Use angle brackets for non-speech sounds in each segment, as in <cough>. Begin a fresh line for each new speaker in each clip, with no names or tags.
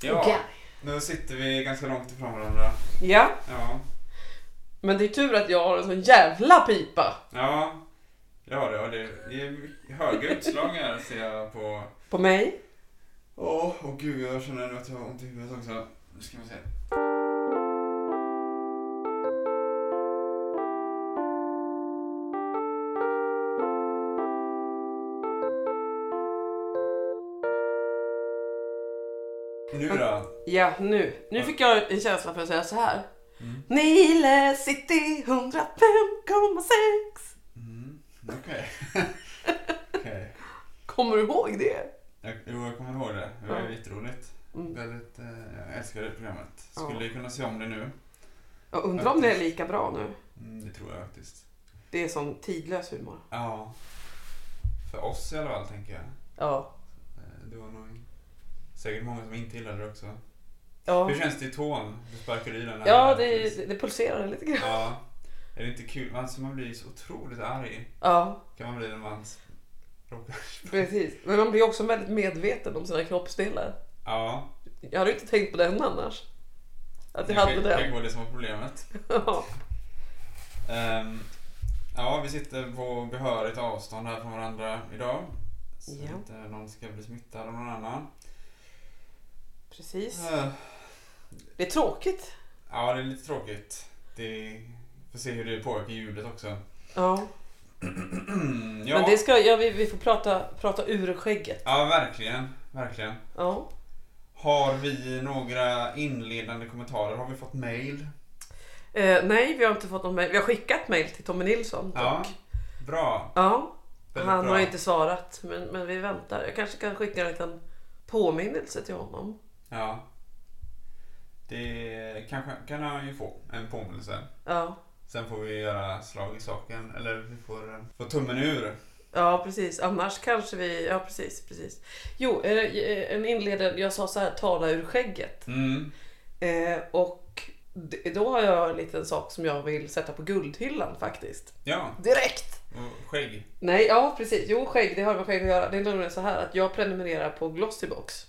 Ja,
Okej.
nu sitter vi ganska långt ifrån varandra.
Ja,
Ja,
men det är tur att jag har en sån jävla pipa
ja. Ja, det, och det det är höga utslag här ser jag på...
på mig.
Åh, åh gud, jag känner nu att jag har ont i huvudet också. Nu ska vi se. Nu då?
<laughs> Ja, nu. Nu fick jag en känsla för att säga så här.
Mm.
Nile City 105,6.
Mm, Okej. <laughs> Okej.
Kommer du ihåg det?
Jag- Jo, jag kommer ihåg det. Det var
Ja.
jätteroligt.
Mm.
Väldigt, eh, jag älskar det programmet.
Ja.
Skulle kunna se om det nu.
Jag undrar om det är lika bra nu.
Mm, det tror jag faktiskt.
Det är sån tidlös humor.
Ja. För oss i alla fall, tänker jag.
Ja.
Eh, Det var nog säkert många som inte gillade det också.
Ja,
Hur känns det i tån? Du sparkade i den här.
ja det, det pulserar lite grann.
Ja. Är det inte kul? Alltså, man blir ju så otroligt arg.
Ja,
Kan man bli när man råkar...
precis. Men man blir också väldigt medveten om sina kroppsdelar.
Ja.
Jag hade ju inte tänkt på den annars. Att jag hade
kanske-
den. <laughs>
kanske var det som var problemet.
Ja.
Ehm, ja, vi sitter på behörigt avstånd här från varandra idag. Så
Ja.
inte någon ska bli smittad av någon annan.
Precis.
Eh,
Det är tråkigt.
Ja, det är lite tråkigt. Det får se hur det påverkar ljudet också. <clears throat>
Ja.
ja.
Men det ska, ja, vi, vi får prata, prata ur skägget.
ja, verkligen. Verkligen.
Ja.
Har vi några inledande kommentarer? Har vi fått mail?
Eh, nej, vi har inte fått någon mejl. Vi har skickat mejl till Tommy Nilsson. dock.
Ja. Bra.
ja.
Väldigt
Han
bra.
har inte svarat, men, men vi väntar. Jag kanske kan skicka en liten påminnelse till honom.
Ja. Det kanske kan han ju få en påminnelse.
Ja,
Sen får vi göra slag i saken. Eller vi får eh, få tummen ur.
ja precis. Annars kanske vi... Ja, precis. precis. Jo, eh, en inledare... Jag sa så här, tala ur skägget.
Mm.
Eh, och d- då har jag en liten sak som jag vill sätta på guldhyllan faktiskt.
Ja,
Direkt!
och skägg.
Nej, ja precis. Jo, skägg, det har med skägg att göra. Det är nämligen så här att jag prenumererar på Glossybox.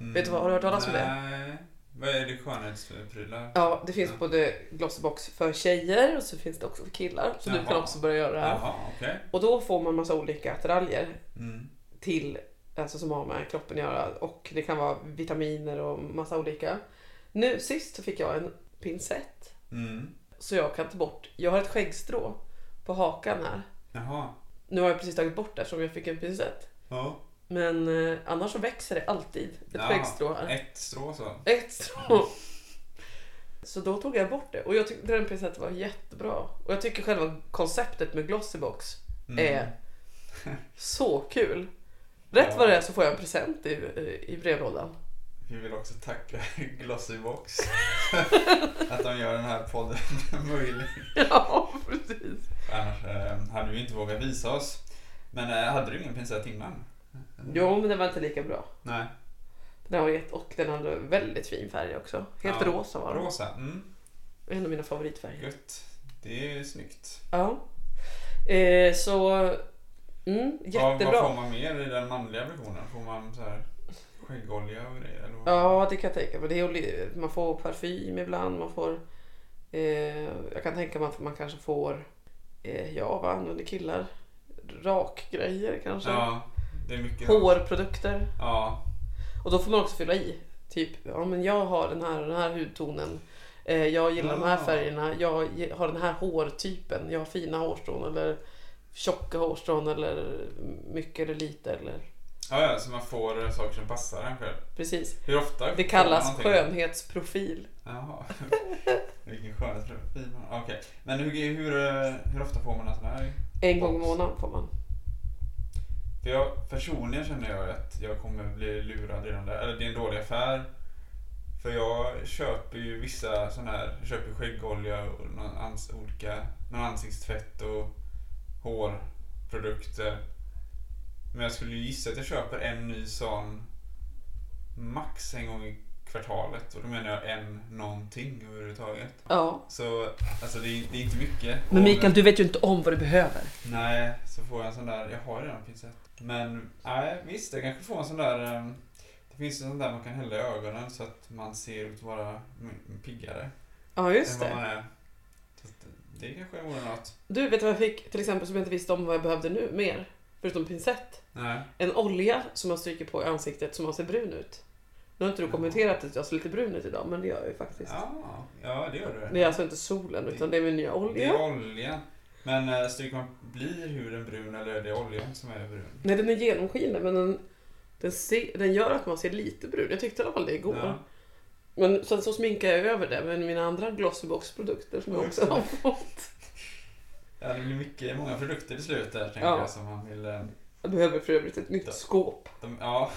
Mm.
Vet du vad, har du hört talas om det?
Nej. Vad är det skönhetsprylar?
Ja, det finns
Ja.
både Glossybox för tjejer och så finns det också för killar. Så du
Jaha.
kan också börja göra det här.
Jaha, okej.
Och då får man massa olika attiraljer
Mm.
till, alltså som har med kroppen att göra. Och det kan vara vitaminer och massa olika. Nu sist så fick jag en pincett.
Mm.
Så jag kan ta bort, jag har ett skäggstrå på hakan här.
Jaha.
Nu har jag precis tagit bort det som jag fick en pincett.
Ja.
Men eh, annars så växer det alltid ett
Ja,
skäggstrå här.
Ett strå så.
ett strå. Så då tog jag bort det och jag tyckte den pincetten var jättebra. Och jag tycker själva konceptet med Glossybox
Mm.
är så kul. Rätt
Ja.
vad det är så får jag en present i, i brevlådan. <laughs>
Vi vill också tacka <laughs> Glossybox <laughs> att de gör den här podden <laughs> möjlig.
Ja, precis.
Annars eh, hade vi inte vågat visa oss. Men eh, hade du ingen pincett innan?
Jo, men den var inte lika bra.
Nej.
Den var jätte, och den hade väldigt fin färg också. Helt
Ja.
rosa var den.
Rosa. Mm.
En av mina favoritfärger.
Gött. Det är ju snyggt.
Ja. Eh, så... Mm,
Vad-
jättebra.
Vad får man mer i den manliga versionen? Får man så här skäggolja och grejer? Eller? vad?
Ja, det kan jag tänka mig. Det är oli- Man får parfym ibland. Man får, eh, jag kan tänka mig att man kanske får, eh, ja vad använder killar? Rakgrejer kanske?
Ja, det är mycket.
Hårprodukter.
Ja,
Och då får man också fylla i. Typ, ja men jag har den här, den här hudtonen. Eh, jag gillar de här
Ja.
färgerna. Jag ge- har den här hårtypen. Jag har fina hårstrån eller tjocka hårstrån eller mycket eller lite eller
ja, ja så man får eh, saker som passar en själv.
precis.
Hur ofta?
Det
får
kallas
man någonting?
skönhetsprofil.
Jaha. <laughs> Vilken skönhetsprofil man har. Okej. Men hur, hur, eh, hur ofta får man en sån här?
En gång i månaden får man.
För jag, personligen känner jag att jag kommer bli lurad redan där. Eller det är en dålig affär. För jag köper ju vissa sån här, jag köper skäggolja och någon, ans, olika, någon ansiktstvätt och hårprodukter. Men jag skulle ju gissa att jag köper en ny sån max en gång i kvartalet. Och då menar jag en någonting överhuvudtaget.
Ja.
Så alltså det är, det är inte mycket.
Men
Och-
Mikael, du vet ju inte om vad du behöver.
Nej, så får jag en sån där. Jag har redan pincett. Men nej, visst, jag kanske får en sån där. ehm, Det finns sånt där man kan hälla i ögonen så att man ser ut att vara m- piggare.
Ja, just
än vad
det.
Man är. Så att det kanske vore något.
Du, vet du vad jag fick till exempel som jag inte visste om vad jag behövde nu mer? Förutom pincett.
Nej.
En olja som man stryker på i ansiktet som man ser brun ut. Nu har inte du kommenterat att jag ser lite brun ut idag, men det gör jag ju faktiskt.
Ja, ja, det gör
Det
du.
är alltså inte solen, utan det är min nya
Det är
olja.
olja. Men eh, stryker man, blir huden brun eller är det oljan som är brun?
Nej, den är genomskinlig, men den, den, ser, den gör att man ser lite brun. Jag tyckte i alla fall det igår.
Ja.
Men sen så sminkar jag över det med mina andra Glossybox-produkter som jag
Ja, just
också har fått.
Ja, det blir mycket, många produkter till slut där tänker
Ja.
jag som man vill... eh,
Jag behöver för övrigt ett nytt skåp.
De, ja,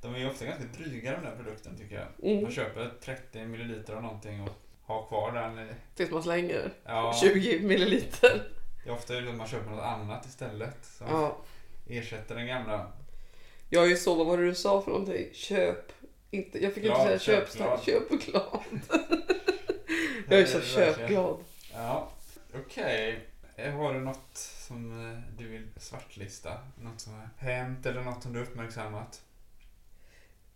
de är ju ofta ganska dryga de där produkterna tycker jag.
Mm.
Man köper 30 milliliter av någonting och har kvar den. i-
Tills man slänger
Ja,
20 milliliter.
det är ofta ju att man köper något annat istället som
Ja.
ersätter den gamla.
Jag är ju så, vad var det du sa för någonting? Köp. Inte, jag fick ju inte
Glad,
säga
köp,
köp,
glad.
köp, glad.
<laughs>
Jag är så köpglad.
Ja, okej. Eh, Har du något som eh, du vill svartlista? Något som har hänt eller något som du har uppmärksammat?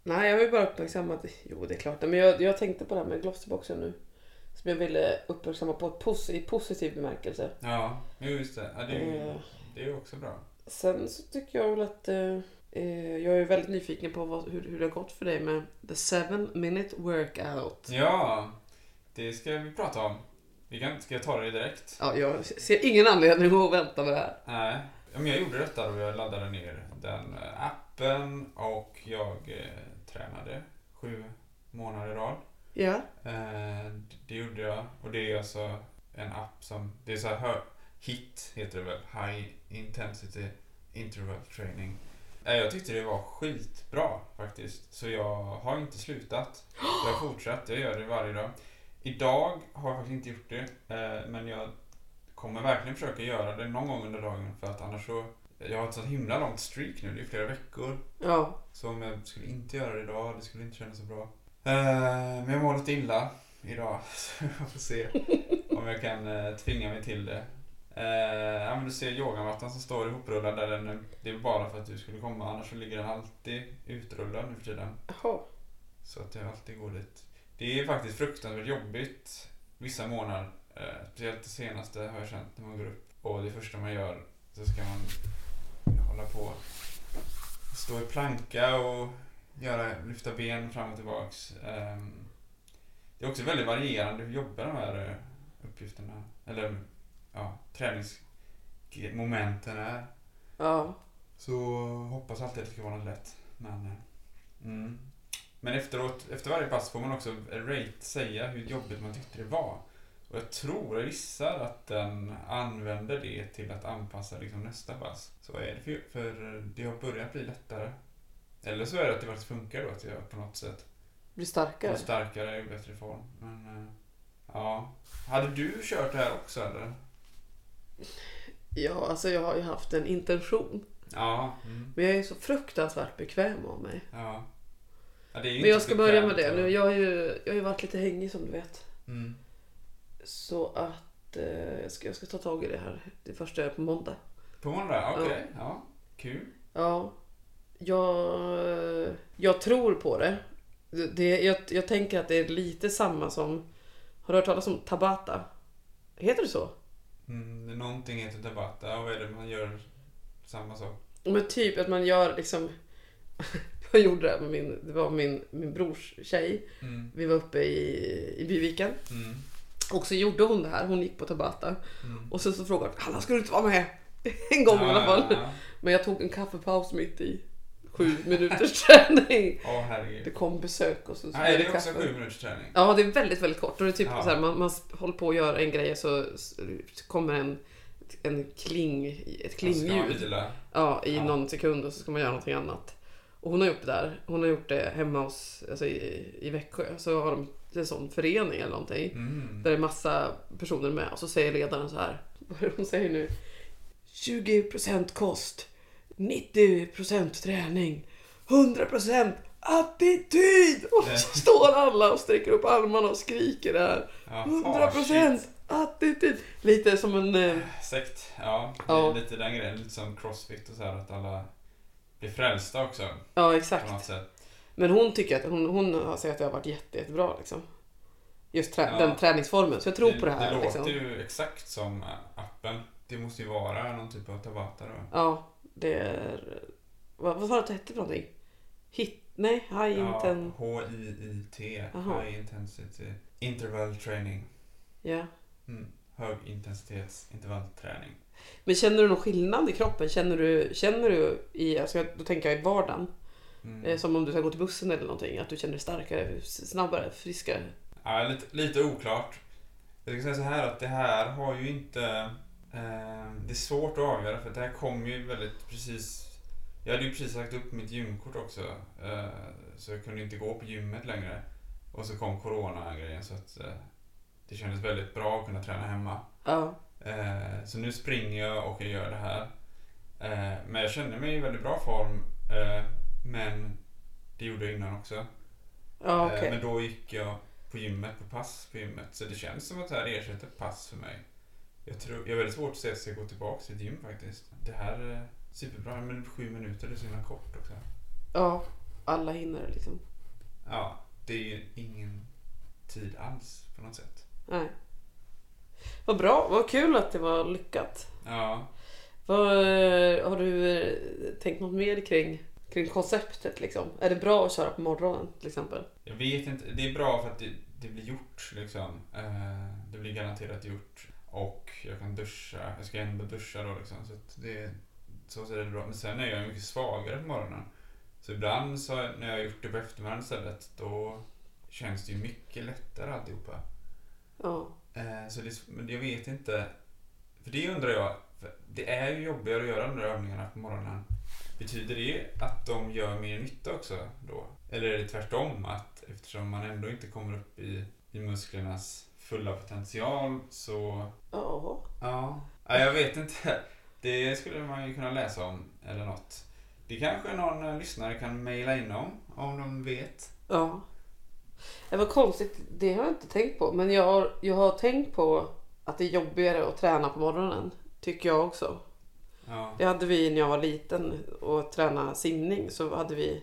Nej, jag vill bara uppmärksamma att... Jo, det är klart. Men jag, jag tänkte på det här med Glossyboxen nu. Som jag ville uppmärksamma på ett pos- i positiv bemärkelse.
Ja, jo, just det. Ja, det, är ju,
Eh,
det är ju också bra.
sen så tycker jag väl att... Eh, eh, jag är väldigt nyfiken på vad, hur, hur det har gått för dig med the 7 minute workout.
Ja, det ska vi prata om. Vi kan, ska jag ta det direkt?
Ja, jag ser ingen anledning att vänta med det här.
Nej, Ja, men jag gjorde detta då jag laddade ner den eh, appen och jag eh, tränade sju månader i rad.
Ja.
Eh, det gjorde jag och det är alltså en app som, det är så här hö- HIT heter det väl, High Intensity Interval Training. Eh, jag tyckte det var skitbra faktiskt så jag har inte slutat. Jag har fortsatt, jag gör det varje dag. Idag har jag faktiskt inte gjort det eh, men jag kommer verkligen försöka göra det någon gång under dagen för att annars så, jag har ett så himla långt streak nu, det är flera veckor
Ja.
så om jag skulle inte göra det idag, det skulle inte kännas så bra. Eh, men jag mår lite illa idag, <laughs> så jag får se om jag kan eh, tvinga mig till det. Eh, ja, men du ser yogamattan som står ihoprullad där den, eh, det är bara för att du skulle komma, annars så ligger den alltid utrullad nu för tiden.
Jaha.
Så att jag alltid går dit. Det är faktiskt fruktansvärt jobbigt vissa månader. Eh, speciellt det senaste har jag känt när man går upp. Och det första man gör så ska man hålla på och stå i planka och göra, lyfta ben fram och tillbaks. Ehm, det är också väldigt varierande hur jobbar de här eh, uppgifterna, eller ja, träningsmomenten är.
Ja.
Så hoppas alltid att det ska vara något lätt. Men, eh, mm. Men efteråt, efter varje pass får man också rate, säga hur jobbigt man tyckte det var. Och jag tror, jag gissar att den använder det till att anpassa liksom nästa pass. Så är det för, för det har börjat bli lättare. Eller så är det att det faktiskt funkar då, att jag på något sätt
Blir
blir
starkare.
starkare i bättre form. Men, eh, ja. Hade du kört det här också eller?
Ja, alltså jag har ju haft en intention.
Ja. Mm.
Men jag är så fruktansvärt bekväm av mig.
ja. ja det är ju
Men jag
inte
ska börja med det
bekvämt,
nu.
och-
Jag har ju, jag har ju varit lite hängig som du vet.
Mm.
Så att eh, jag, ska, jag ska ta tag i det här. Det första jag gör på måndag.
På måndag? Okej.
Ja.
Ja. Kul.
Ja, jag, jag tror på det. det, det jag, jag tänker att det är lite samma som... Har du hört talas om Tabata? Heter det så?
Mm, det är någonting heter Tabata och vad är det man gör samma sak?
Men typ att man gör liksom... <laughs> Jag gjorde det här med min, det var min, min brors tjej.
Mm,
Vi var uppe i, i Byviken.
mm,
Och så gjorde hon det här, hon gick på Tabata.
mm.
Och sen så frågade hon, Hanna ska du inte vara med? <laughs> En gång i alla fall.
Ja, ja,
Men jag tog en kaffepaus mitt i sju minuters <laughs> träning.
ja. Åh
Det
herregud.
kom besök och så så
Nej,
blev
det är också sju minuters träning.
Ja, det är väldigt, väldigt kort. Och det är typ
Ja.
så här, man, man s- håller på att göra en grej och så s- kommer en, en kling, ett
Man ska
klingljud
vila.
ja, i
Ja.
någon sekund och så ska man göra någonting annat. Och hon har gjort det där. Hon har gjort det hemma hos, alltså i, i Växjö. Så har de en sån förening eller någonting.
Mm.
Där det är massa personer med och så säger ledaren så här. <laughs> Vad är det hon säger nu? 20% kost. 90% träning. 100% attityd! Och så står alla och sträcker upp armarna och skriker där.
Ja, ah,
100%
shit.
attityd! Lite som en... eh,
Sekt. Ja, det
Ja.
är lite den grejen. Lite som crossfit och så här att alla blir frälsta också
Ja,
på
exakt.
något sätt.
Men hon tycker att hon, hon säger att det har varit jätte, jättebra liksom. Just trä,
Ja.
den träningsformen. Så jag tror på det här.
Det
liksom.
låter ju exakt som äh, appen. Det måste ju vara någon typ av Tabata då.
Ja, det är... Vad, vad var det att det hette för någonting? Hit... Nej, high inten...
H-I-I-T.
Aha.
High Intensity Interval Training.
Ja.
Mm. Högintensitetsintervallträning.
Men känner du någon skillnad i kroppen? Känner du, känner du i, alltså jag, då tänker jag i vardagen,
Mm.
eh, som om du ska gå till bussen eller någonting, att du känner dig starkare, s- snabbare, friskare?
Ja, lite, lite oklart. Jag ska säga så här att det här har ju inte... Eh, det är svårt att avgöra för det här kom ju väldigt precis... Jag hade ju precis sagt upp mitt gymkort också. Eh, så jag kunde inte gå på gymmet längre. Och så kom corona-grejen så att eh, det kändes väldigt bra att kunna träna hemma.
Ja.
Eh, så nu springer jag och jag gör det här. Eh, men jag känner mig i väldigt bra form. Eh, men det gjorde jag innan också. Eh,
Ja, okej.
Men då gick jag på gymmet, på pass på gymmet. Så det känns som att det här ersätter pass för mig. Jag, tror, jag har väldigt svårt att se att jag ska gå tillbaka till ett gym faktiskt. Det här är superbra, men sju minuter det är så himla kort också.
Ja, alla hinner liksom.
Ja, det är ju ingen tid alls på något sätt.
Nej. Vad bra, vad kul att det var lyckat.
Ja,
Vad, eh, har du eh, tänkt något mer kring, kring konceptet liksom? Är det bra att köra på morgonen till exempel?
jag vet inte. Det är bra för att det, det blir gjort liksom. Eh, det blir garanterat gjort. Och jag kan duscha. Jag ska ändå duscha då liksom. Så att det, så ser det bra. Men sen är jag mycket svagare på morgonen. Så ibland så när jag har gjort det på eftermiddagen istället då känns det ju mycket lättare alltihopa.
Ja.
Eh, så det, men jag vet inte. För det undrar jag. för Det är ju jobbigare att göra de där övningarna på morgonen. Betyder det att de gör mer nytta också då? Eller är det tvärtom? Att eftersom man ändå inte kommer upp i, i musklernas fulla potential så...
Ja.
Ja. ja, jag vet inte. <laughs> Det skulle man ju kunna läsa om eller något. Det kanske någon eh, lyssnare kan mejla in om, om de vet.
Ja. Det var konstigt, det har jag inte tänkt på. Men jag har, jag har tänkt på att det är jobbigare att träna på morgonen. Tycker jag också.
Ja.
Det hade vi när jag var liten och tränade simning. Så hade vi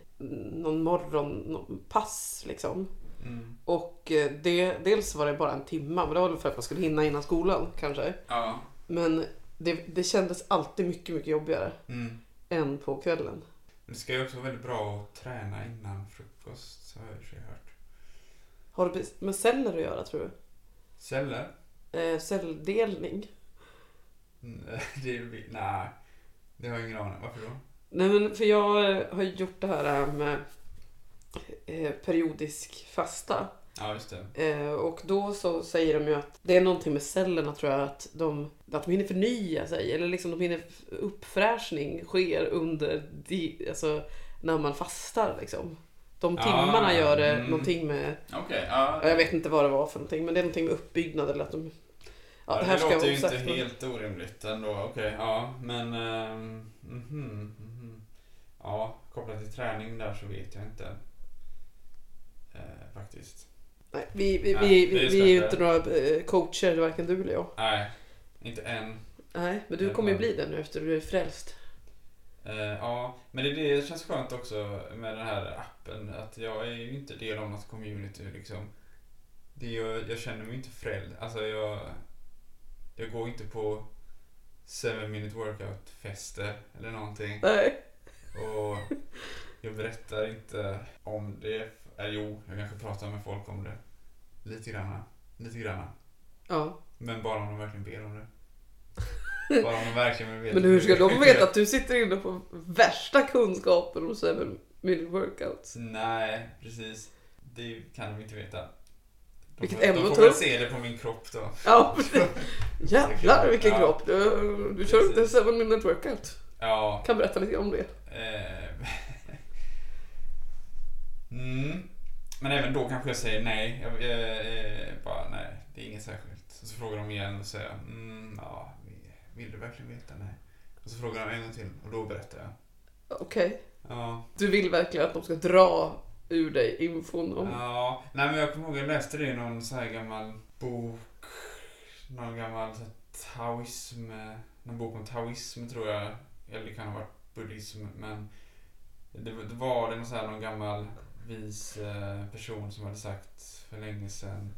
någon morgonpass liksom.
Mm.
Och eh, det, dels var det bara en timma. Men det var väl för att man skulle hinna innan skolan kanske.
Ja.
Men det, det kändes alltid mycket, mycket jobbigare
Mm.
än på kvällen.
Men Det ska ju också vara väldigt bra att träna innan frukost, har jag i och för sig hört.
Har det med celler att göra tror du?
Celler?
Eh, celldelning?
Mm, <laughs> Det är, nej, det har jag ingen aning om. Varför då?
Nej men för jag eh, har gjort det här eh, med eh, periodisk fasta.
Ja, just det.
Eh, Och då så säger de ju att det är någonting med cellerna tror jag, att de, att de hinner förnya sig. Eller liksom de hinner, uppfräschning sker under, di- alltså när man fastar liksom. De
Ah,
timmarna gör det
mm.
någonting med,
Okej,
ja, jag vet inte vad det var för någonting, men det är någonting med uppbyggnad eller att de... Ja, det här ska
låter
jag
ju inte
osagt, men-
helt orimligt ändå. Okej, ja, men... ehm, mhm, mhm. Ja, kopplat till träning där så vet jag inte. Eh, faktiskt.
Nej, vi, vi,
Nej,
vi,
det är
vi,
ju
vi är ju
spännande.
inte några eh, coacher, varken du eller jag.
Nej, inte än.
Nej, men du kommer ju bli det nu efter du är frälst.
Eh, ja, men det, det känns skönt också med den här appen. Att jag är ju inte del av något community liksom. Det är ju, jag känner mig inte förälder. Alltså jag... Jag går inte på 7 minute workout fester eller någonting.
Nej.
Och jag berättar inte om det. Eller jo, jag kanske pratar med folk om det. Lite granna. Lite granna.
Ja.
Men bara om de verkligen ber om det. Bara om de verkligen vill veta.
<laughs> Men hur ska de veta att du sitter inne på värsta kunskapen om 7 minute workouts?
Så Nej, precis. Det kan de inte veta. De
Vilket
får,
ämne
de får
att ta
väl
upp.
se det på min kropp då.
<laughs> Ja, precis. Jävlar vilken
Ja.
kropp. Du, du kör inte
Precis.
7 minute workout.
Ja.
Kan berätta lite om det.
Eh. <laughs> Mm. Men även då kanske jag säger nej. Jag, eh, eh, bara nej, det är inget särskilt. Och så frågar de igen och säger mm, ja, vi- vill du verkligen veta? Nej. Och så frågar de en gång till och då berättar jag.
Okej.
Ja.
Du vill verkligen att de ska dra ur dig infon om...
Ja, nej men jag kommer ihåg jag läste det i någon så här gammal bok. Någon gammal så här taoism. eh, Någon bok om taoism tror jag. Eller det kan ha varit buddhism men. Det, var- det var det någon, så här, någon gammal vis eh, person som hade sagt för länge sedan.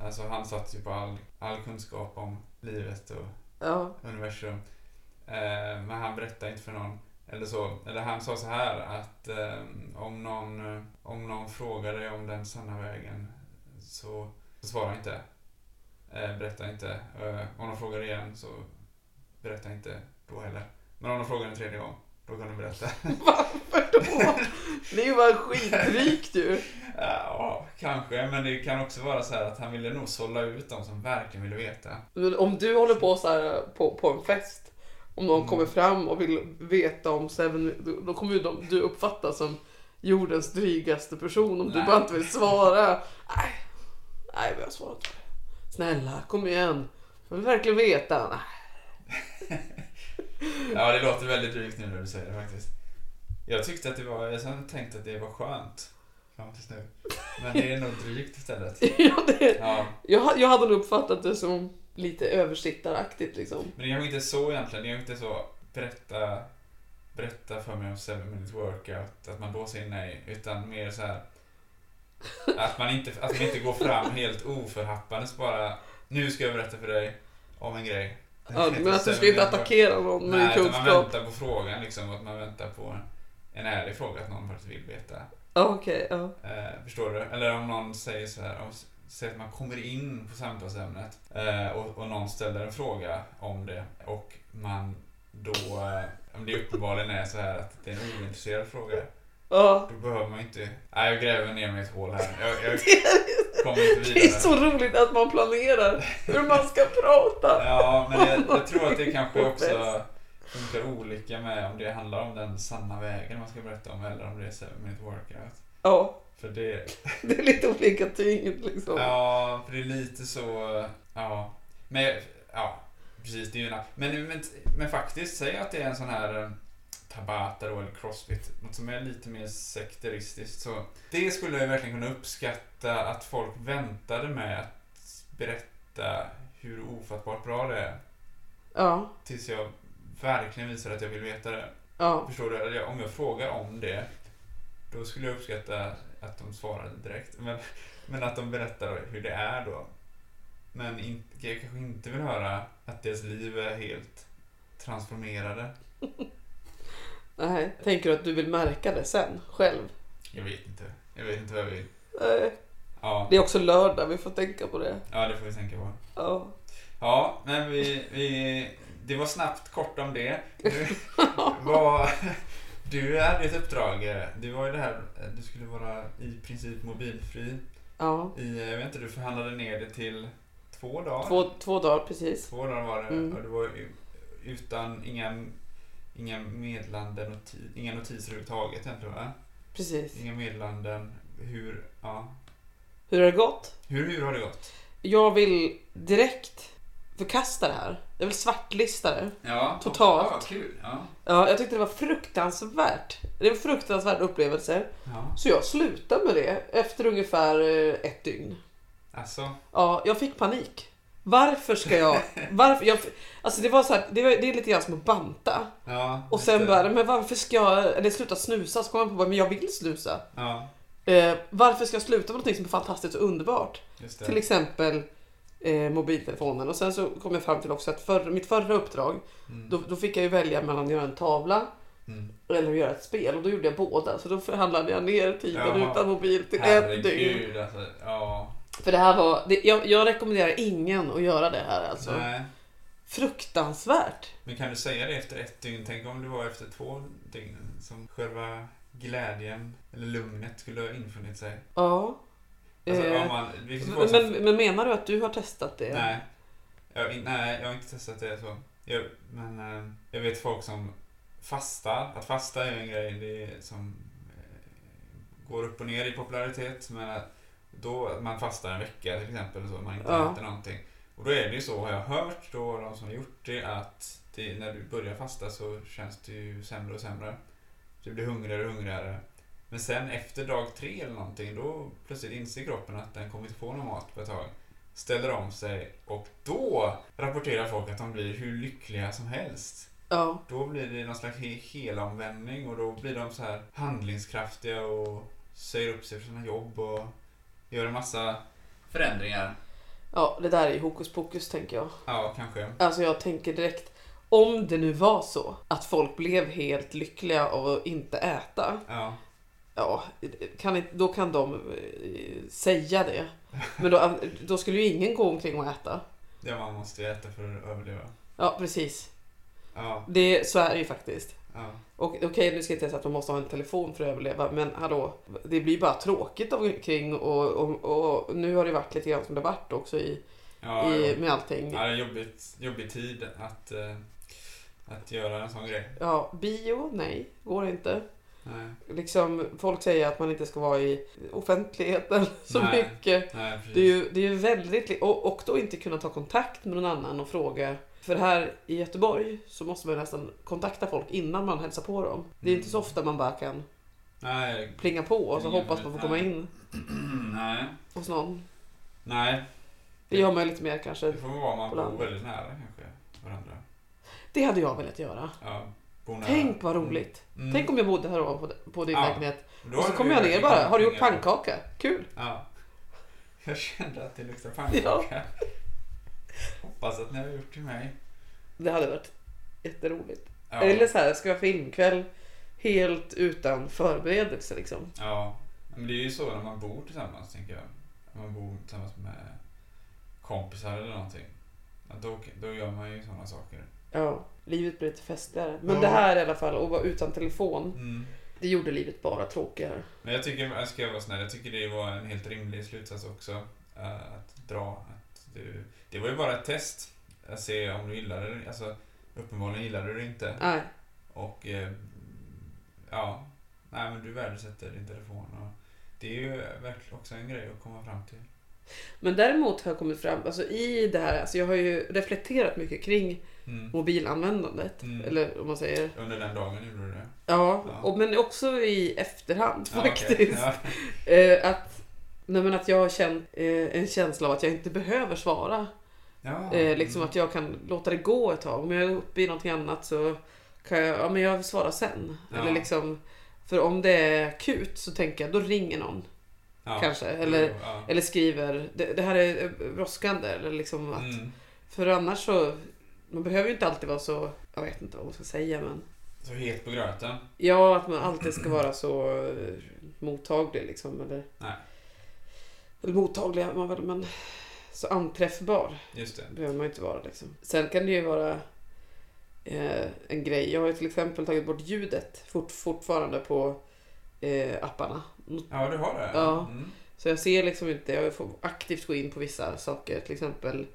Alltså han satt ju på all, all kunskap om livet och
Ja.
universum. Eh, men han berättade inte för någon. Eller så. Eller han sa så här att eh, om, någon, eh, om någon frågar dig om den sanna vägen så, så svara inte. Eh, berätta inte. Eh, om de frågar igen så berätta inte då heller. Men om de frågar en tredje gång, då kan du berätta. <laughs>
<laughs> Varför då? Det är ju bara skitdrygt ju.
Ja, kanske. Men det kan också vara så här att han ville nog sålla ut de som verkligen ville veta.
Men om du håller på så här på, på en fest. Om någon
Mm.
kommer fram och vill veta om Seven, då- då kommer ju de, du uppfattas som jordens drygaste person om du
Nej.
bara inte vill svara. Nej, nej men jag svarar inte. Snälla, kom igen. Jag vill verkligen veta. Nej. <laughs>
Ja, det låter väldigt drygt nu när du säger det faktiskt. Jag tyckte att det var, jag hade tänkt att det var skönt. Fram tills nu. Men det är nog drygt istället.
Ja, det,
Ja,
jag, jag hade nog uppfattat det som lite översittaraktigt liksom.
men det kanske inte är så egentligen. Det är kanske inte så berätta, berätta för mig om 7 minutes workout, att man då säger nej. Utan mer så här att man inte, att man inte går fram helt oförhappandes bara. Nu ska jag berätta för dig om en grej.
Ja, men att du ska
Seven
inte
minutes workout.
attackera någon med
Nej, utan man
kunskap.
väntar på frågan liksom. Att man väntar på en ärlig fråga att någon faktiskt vill veta.
Ja, Okej, ja.
Eh, förstår du? Eller om någon säger så här, om, säger att man kommer in på samtalsämnet eh, och, och någon ställer en fråga om det och man då, eh, om det uppenbarligen är så här att det är en ointresserad fråga,
ja.
då behöver man inte... Nej, jag gräver ner mig i ett hål här. Jag, jag
Det är-
kommer inte
Det är
vidare.
så roligt att man planerar hur man ska prata.
Ja, men jag, jag tror att det kanske också funkar olika med om det handlar om den sanna vägen man ska berätta om eller om det är 7 minute workout.
Ja,
För det,
det är lite olika tyngd liksom.
Ja, för det är lite så... Ja. Men, ja, precis. Det är ju en, men, men, men faktiskt, säg att det är en sån här eh, Tabata då, eller Crossfit, något som är lite mer sekteristiskt. Så det skulle jag verkligen kunna uppskatta att folk väntade med att berätta hur ofattbart bra det är.
Ja,
Tills jag verkligen visar att jag vill veta det.
ja,
Förstår du? Eller jag- Om jag frågar om det, då skulle jag uppskatta att de svarar direkt. Men, men att de berättar hur det är då. Men in, jag kanske inte vill höra att deras liv är helt transformerade.
nej. Tänker du att du vill märka det sen, själv?
Jag vet inte. Jag vet inte vad jag vill.
Nej.
Ja,
Det är också lördag, vi får tänka på det.
ja det får vi tänka på.
Ja.
Ja, men vi, vi... Det var snabbt kort om det. Du,
<laughs>
vad, du hade ett uppdrag. eh, Du var ju det här, eh, du skulle vara i princip mobilfri.
ja.
I, eh, jag vet inte, du förhandlade ner det till två dagar?
Två, två dagar precis.
Två dagar var det.
Mm.
Och det var ju utan inga, inga medlande noti, inga notiser överhuvudtaget egentligen va?
Precis.
Inga meddelanden. Hur, ja.
Hur har det gått?
Hur, hur har det gått?
Jag vill direkt förkasta det här. Jag vill svartlista det.
Ja,
Totalt.
Ja, kul. Ja.
Ja, jag tyckte det var fruktansvärt. Det är en fruktansvärd upplevelse.
ja.
Så jag slutade med det efter ungefär eh, ett dygn.
Alltså,
Ja, jag fick panik. Varför ska
<laughs>
jag... Varför, jag alltså det var så här, det, var, det är lite grann som att banta.
ja.
Och sen
lite-
bara, men varför ska jag... Eller sluta snusa. Så kom jag på, bara, men jag vill snusa.
Ja,
Eh, varför ska jag sluta med någonting som är fantastiskt och underbart?
just det.
Till exempel eh, mobiltelefonen. Och sen så kom jag fram till också att för, mitt förra uppdrag,
Mm.
då, då fick jag ju välja mellan att göra en tavla
Mm.
eller att göra ett spel. Och då gjorde jag båda. Så då förhandlade jag ner tiden
Jaha.
utan mobil till ett dygn.
Herregud alltså. Ja.
För det här var, det, jag, jag rekommenderar ingen att göra det här alltså.
Nej.
Fruktansvärt.
Men kan du säga det efter ett dygn? Tänk om det var efter två dygn som själva glädjen eller lugnet skulle ha infunnit sig.
Ja.
Alltså,
Eh,
om man, det finns folk
men,
som,
men menar du att du har testat det?
nej, jag, in- nej, jag har inte testat det så. Jag, men eh, jag vet folk som fastar. Att fasta är ju en grej det är som eh, går upp och ner i popularitet. Men att då att man fastar en vecka till exempel så man inte
Ja.
äter någonting. Och då är det ju så, har jag hört då de som har gjort det, att det, när du börjar fasta så känns det ju sämre och sämre. Du blir hungrigare och hungrigare. Men sen efter dag tre eller någonting, då plötsligt inser kroppen att den kommer inte få någon mat på ett tag. Ställer om sig och då rapporterar folk att de blir hur lyckliga som helst.
Ja.
Då blir det någon slags he- helomvändning och då blir de så här handlingskraftiga och säger upp sig från sina jobb och gör en massa förändringar.
Ja, det där är ju hokus pokus tänker jag.
Ja, kanske.
Alltså jag tänker direkt, om det nu var så att folk blev helt lyckliga av att inte äta,
Ja.
ja, kan, inte- då kan de eh, säga det. Men då, då skulle ju ingen gå omkring och äta.
Det man måste ju äta för att överleva.
Ja, precis.
Ja,
Det, så är det ju faktiskt.
ja.
Och okej, nu ska jag inte säga att de måste ha en telefon för att överleva, men hallå, det blir bara tråkigt omkring och, och, och nu har det varit lite grann som det varit också i,
Ja,
i,
ja.
med allting.
ja det är jobbigt, jobbig tid att, eh, att göra en sån grej.
Ja, bio? Nej, går inte.
Nej,
Liksom, folk säger att man inte ska vara i offentligheten <laughs> så
Nej.
mycket.
nej precis.
Det är ju, det är ju väldigt... li- Och, och då inte kunna ta kontakt med någon annan och fråga. För här i Göteborg så måste man ju nästan kontakta folk innan man hälsar på dem. Det är inte så
Mm.
ofta man bara kan
Nej,
plinga på och så
Ingen
hoppas man får komma
vet, nej.
in
<clears throat> nej,
hos någon.
nej.
Det gör man ju lite mer kanske.
Det får vara man
på
bor
landet.
väldigt nära kanske varandra.
Det hade jag velat göra.
Ja, bor nära.
Tänk vad roligt.
Mm.
Tänk om jag bodde här ovanpå på din
Ja.
lägenhet.
Då
Och
har
så
du
kommer jag ner
verkligen
bara. Har du gjort
pannkakan.
pannkaka? Kul!
Ja. <laughs> Jag kände att det
<laughs>
luktade pannkaka. Hoppas att ni har gjort till mig.
Det hade varit jätteroligt.
Ja.
Eller så här, ska vi ha filmkväll helt utan förberedelse liksom.
ja. Men det är ju så när man bor tillsammans, tänker jag. När man bor tillsammans med kompisar eller någonting. Ja, då, då gör man ju sådana saker.
Ja, livet blir lite festligare. Men
Ja.
det här i alla fall, att vara utan telefon,
Mm.
det gjorde livet bara tråkigare.
Men jag tycker, jag ska jag vara snäll, jag tycker det var en helt rimlig slutsats också. eh, att dra. Att du, det var ju bara ett test. Att se om du gillade det. Alltså, uppenbarligen gillade du det inte.
Nej,
Och eh, ja, nej men du värdesätter din telefon. Och det är ju verkligen också en grej att komma fram till.
men däremot har jag kommit fram, alltså i det här, alltså jag har ju reflekterat mycket kring
Mm.
mobilanvändandet.
Mm.
Eller om man säger.
Under den dagen gjorde du det.
Ja,
Ja.
Och, men också i efterhand
Ja, okej.
faktiskt.
Ja,
Eh, att, nej men att jag har känt eh, en känsla av att jag inte behöver svara
ja.
Eh, liksom
mm.
att jag kan låta det gå ett tag. Om jag är uppe i någonting annat så kan jag, ja men jag svarar sen.
Ja.
Eller liksom, för om det är akut så tänker jag, då ringer någon
ja.
kanske. Eller,
Jo, ja.
eller skriver, det, det här är eh, brådskande. Eller liksom att,
Mm.
För annars så, man behöver ju inte alltid vara så, jag vet inte vad man ska säga men.
Så helt på gröten.
Ja, att man alltid ska vara så eh, mottaglig liksom. Eller,
Nej.
eller mottaglig är man väl, men så anträffbar
Just det.
behöver man ju inte vara liksom. Sen kan det ju vara eh, en grej. Jag har ju till exempel tagit bort ljudet fort, fortfarande på eh, apparna.
Ja, du har det?
Ja.
Mm.
Så jag ser liksom inte, jag får aktivt gå in på vissa saker. Till exempel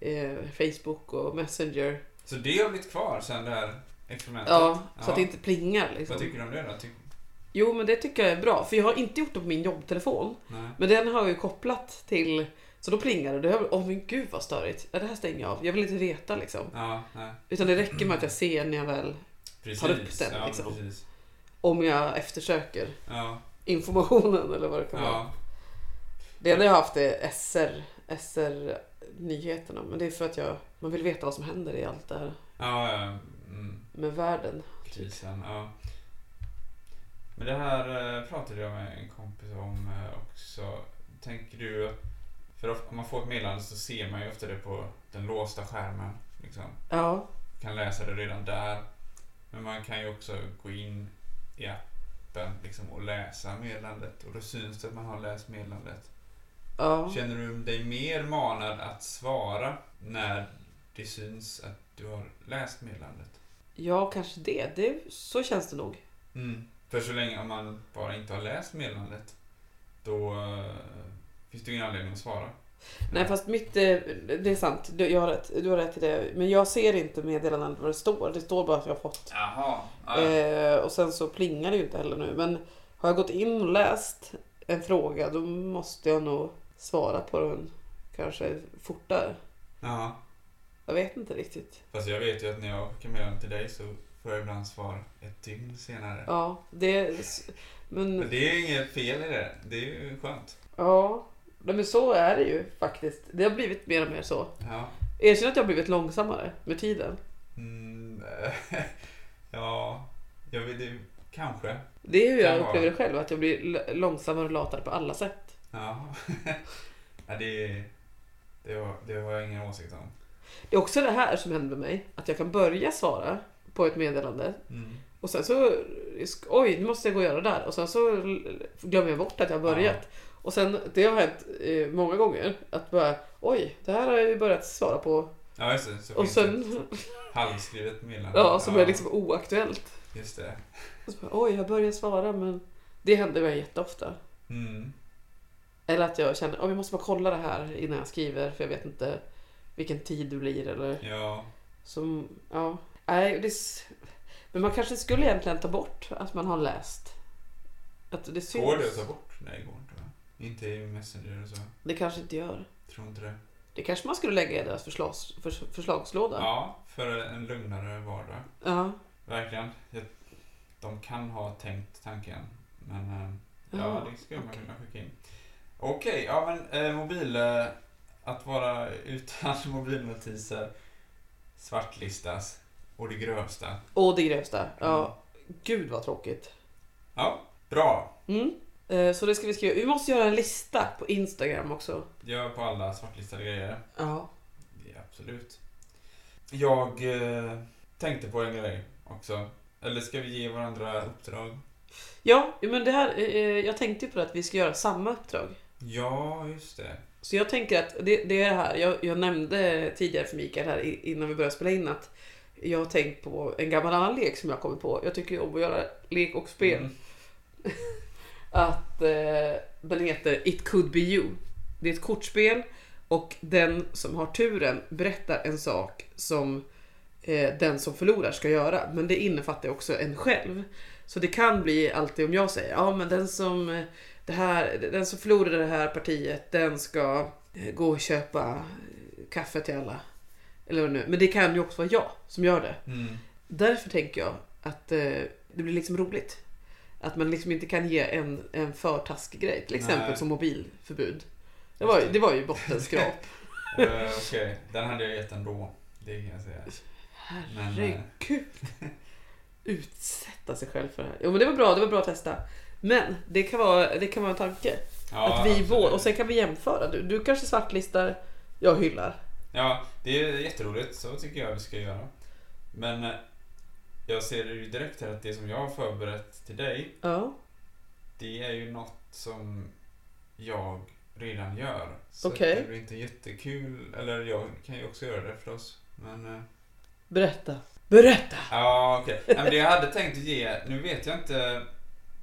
eh, Facebook och Messenger.
Så det har blivit kvar sen det här experimentet?
Ja, så att det inte plingar
Vad
liksom.
tycker du om det då? Tyck...
Jo men det tycker jag är bra. För jag har inte gjort det på min jobbtelefon.
Nej.
Men den har jag ju kopplat till så då plingar det. Då har jag- Åh men gud vad störigt. Ja, det här stänger jag av. Jag vill inte reta liksom.
Ja, nej.
Utan det räcker med att jag ser när jag väl
Precis.
Tar upp den,
ja,
liksom.
Precis.
om jag eftersöker
Ja,
informationen eller vad det kan vara.
ja.
Det enda jag har haft är SR, SR nyheterna. Men det är för att jag, man vill veta vad som händer i allt det här
ja, ja. Mm.
med världen.
Krisen, ja. Men det här eh, pratade jag med en kompis om eh, också. Tänker du, för of- om man får ett meddelande så ser man ju ofta det på den låsta skärmen. Liksom.
Ja,
Kan läsa det redan där. Men man kan ju också gå in i appen liksom, och läsa meddelandet och då syns det att man har läst meddelandet.
ja.
Känner du dig mer manad att svara när det syns att du har läst meddelandet?
Ja, kanske det. det. Så känns det nog.
Mm. För så länge om man bara inte har läst meddelandet, då eh, finns det ju ingen anledning att svara.
Nej, fast mitt... eh, Det är sant. Du, jag har rätt, du har rätt i det. Men jag ser inte meddelandet vad det står. Det står bara att jag har fått.
Jaha.
Eh, och sen så plingar det ju inte heller nu. Men har jag gått in och läst en fråga då måste jag nog svara på den kanske fortare.
Ja.
Jag vet inte riktigt.
Fast jag vet ju att när jag skickar meddelande till dig så får jag ibland svar ett dygn senare.
Ja, det... Men
Men det är inget fel i det. Det är ju skönt.
ja, Nej, men så är det ju faktiskt. Det har blivit mer och mer så.
Ja.
Erkänn att jag har
<laughs>
blivit långsammare med tiden.
Mm, ja. Jag vet, det Kanske.
Det är hur jag
Kan vara.
upplever det själv, att jag blir l- långsammare och latare på alla sätt.
Ja. <laughs> Nej, det, det, har, det har jag ingen åsikt om.
Det är också det här som händer med mig, att jag kan börja svara på ett meddelande
Mm.
och sen så, oj nu måste jag gå och göra det där och sen så l- glömmer jag bort att jag har börjat. Och sen, det har hänt eh, många gånger, att bara, oj det här har jag ju börjat svara på
Ja, just det. Så
och
finns det
sen,
ett halvskrivet meddelande.
ja som är liksom oaktuellt.
Just det.
Och så bara, oj jag börjar svara men det händer mig jätteofta.
Mm.
Eller att jag känner, oh, jag måste bara kolla det här innan jag skriver för jag vet inte vilken tid det blir eller
Ja.
som, ja. Nej, det är, s- men man kanske skulle egentligen ta bort att man har läst. Att det syns.
Går det att ta bort? Nej, det går inte. va? Inte i Messenger och så.
Det kanske inte gör.
Tror inte det.
Det kanske man skulle lägga i deras förslags, förs- förslagslåda.
Ja, för en lugnare vardag.
Ja.
Verkligen. Jag- De kan ha tänkt tanken. Men eh, ja,
Ja,
det skulle man
okej.
kunna skicka in. Okej, ja men eh, mobil... Eh, att vara utan <laughs> mobilnotiser svartlistas och det grövsta.
Och det grövsta. Ja. Gud vad tråkigt.
Ja, bra.
Mm. Eh, Så det ska vi skriva. Vi måste göra en lista på Instagram också.
Gör på alla svartlistade grejer.
Ja.
Ja, absolut. Jag eh, tänkte på en grej också. Eller ska vi ge varandra uppdrag?
Ja, men det här, eh, jag tänkte ju på det att vi ska göra samma uppdrag.
Ja, just det.
Så jag tänker att det, det är det här, jag, jag nämnde tidigare för Mikael här i- innan vi började spela in att jag har tänkt på en gammal annan lek som jag kommit på. Jag tycker ju om att göra lek och spel.
Mm.
Att eh, den heter It could be you. Det är ett kortspel och den som har turen berättar en sak som eh, den som förlorar ska göra. Men det innefattar ju också en själv. Så det kan bli alltid om jag säger ja men den som eh, det här, den som förlorar det här partiet den ska eh, gå och köpa eh, kaffe till alla. Eller vad det nu är. Men det kan ju också vara jag som gör det.
Mm.
Därför tänker jag att eh, det blir liksom roligt. Att man liksom inte kan ge en, en för taskig grej. Till exempel
Nej.
som mobilförbud. Det var, ju- det var ju bottenskrap.
<laughs> Eh, Okej, den hade jag gett ändå. Det kan jag säga. Men, eh,
Herregud. Utsätta sig själv för det här. Jo men det var bra, det var bra att testa. Men det kan vara, det kan vara en tanke.
ja,
att vi
absolut.
vår, och sen kan vi jämföra. Du, du kanske svartlistar, jag hyllar.
Ja, det är jätteroligt. Så tycker jag vi ska göra. Men eh, jag ser ju direkt här att det som jag har förberett till dig,
Ja,
det är ju något som jag redan gör. Så
Okej.
det blir inte jättekul. Eller jag kan ju också göra det förstås. Men... eh,
berätta. Berätta!
Ja, okej. Nej, men Det jag hade tänkt att ge, nu vet jag inte,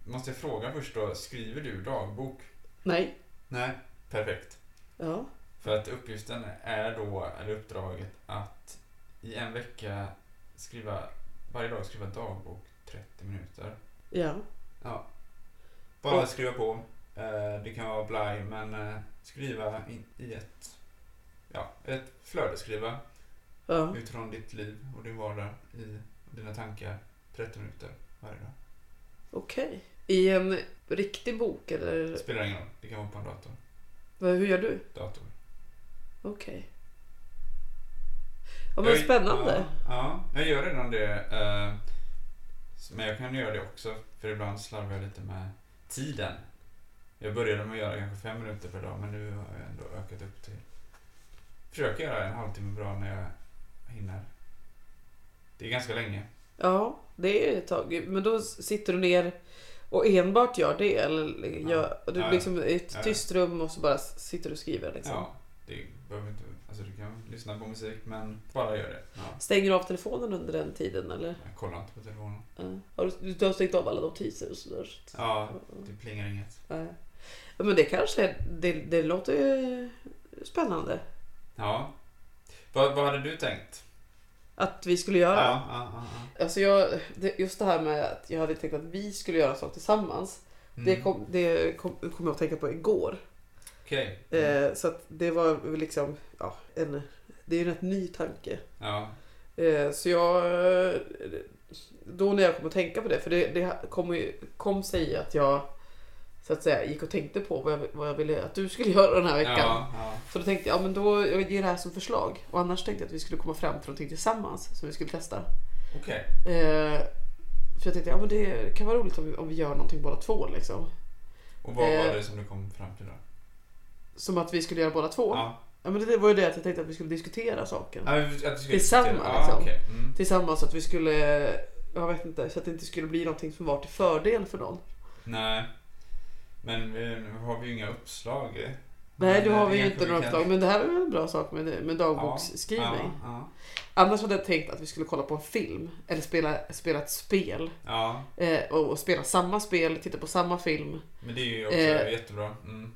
måste jag fråga först då, skriver du dagbok?
Nej.
Nej. Perfekt.
Ja.
För att uppgiften är då, eller uppdraget, att i en vecka skriva, varje dag skriva dagbok 30 minuter.
Ja.
Ja. Bara
Och-
skriva på. Eh, Det kan vara blaj, men eh, skriva i- i ett, ja, ett flödesskriva
Ja.
utifrån ditt liv och din vardag i dina tankar 30 minuter varje dag.
Okej. I en riktig bok eller?
Det spelar ingen roll. Det kan vara på en dator.
Vad- Hur gör du?
dator.
Okej. Ja men
Jag-
spännande.
Ja, ja, jag gör redan det. eh, s- Men jag kan göra det också. För ibland slarvar jag lite med tiden. Jag började med att göra kanske fem minuter per dag men nu har jag ändå ökat upp till... Försöker göra en halvtimme per dag när jag hinner. Det är ganska länge.
Ja, det är ett tag. Men då sitter du ner och enbart gör det? Eller gör,
Ja.
du
Ja,
liksom i
ja.
ett tyst rum och så bara sitter du och skriver liksom?
Ja, det behöver inte... Alltså du kan lyssna på musik men bara gör det. Ja.
Stänger du av telefonen under den tiden eller?
Jag kollar inte på telefonen.
Ja. Har du, du har stängt av alla notiser och sådär? så-
Ja,
Mm.
det plingar inget.
Ja. Ja, men det kanske, det, det låter ju spännande.
Ja. Vad, vad hade du tänkt?
Att vi skulle göra.
Ja, ja, ja, ja.
Alltså jag, det- just det här med att jag hade tänkt att vi skulle göra saker tillsammans.
Mm.
Det kom, det kom, kom jag att tänka på igår.
Okej.
Eh, så att det var väl liksom, ja, en, det är ju en rätt ny tanke.
Ja.
Eh, så jag, eh, då när jag kom att tänka på det, för det, det kom, ju- kom sig att jag så att säga gick och tänkte på vad jag, vad jag ville att du skulle <laughs> göra den här veckan.
Ja, ja.
Så då tänkte jag, ja men då jag ger det här som förslag. Och annars tänkte jag att vi skulle komma fram till någonting tillsammans som vi skulle testa.
Okej.
Eh, För jag tänkte ja, men det kan vara roligt om vi, om vi gör någonting båda två. Liksom.
Och vad
Eh.
var det som du kom fram till då?
Som att vi skulle göra båda två. Ja.
Ja.
men det var ju det att jag tänkte att vi skulle diskutera saken.
Ja, vi- att vi skulle
Tillsammans,
diskutera. Ja,
liksom.
okej. mm.
Tillsammans att vi skulle, jag vet inte, så att det inte skulle bli någonting som var till fördel för någon.
Nej. Men vi, nu har vi ju inga uppslag. eh.
Nej,
Men,
då
eh,
har vi ju
kanske
inte några
kan-
uppdrag. Men det här är väl en bra sak med, med
Ja,
dagboksskrivning.
ja,
Annars hade jag tänkt att vi skulle kolla på en film. Eller spela, spela ett spel.
ja.
Eh, och, och spela samma spel, titta på samma film.
Men det är ju också
Eh.
jättebra. Mm.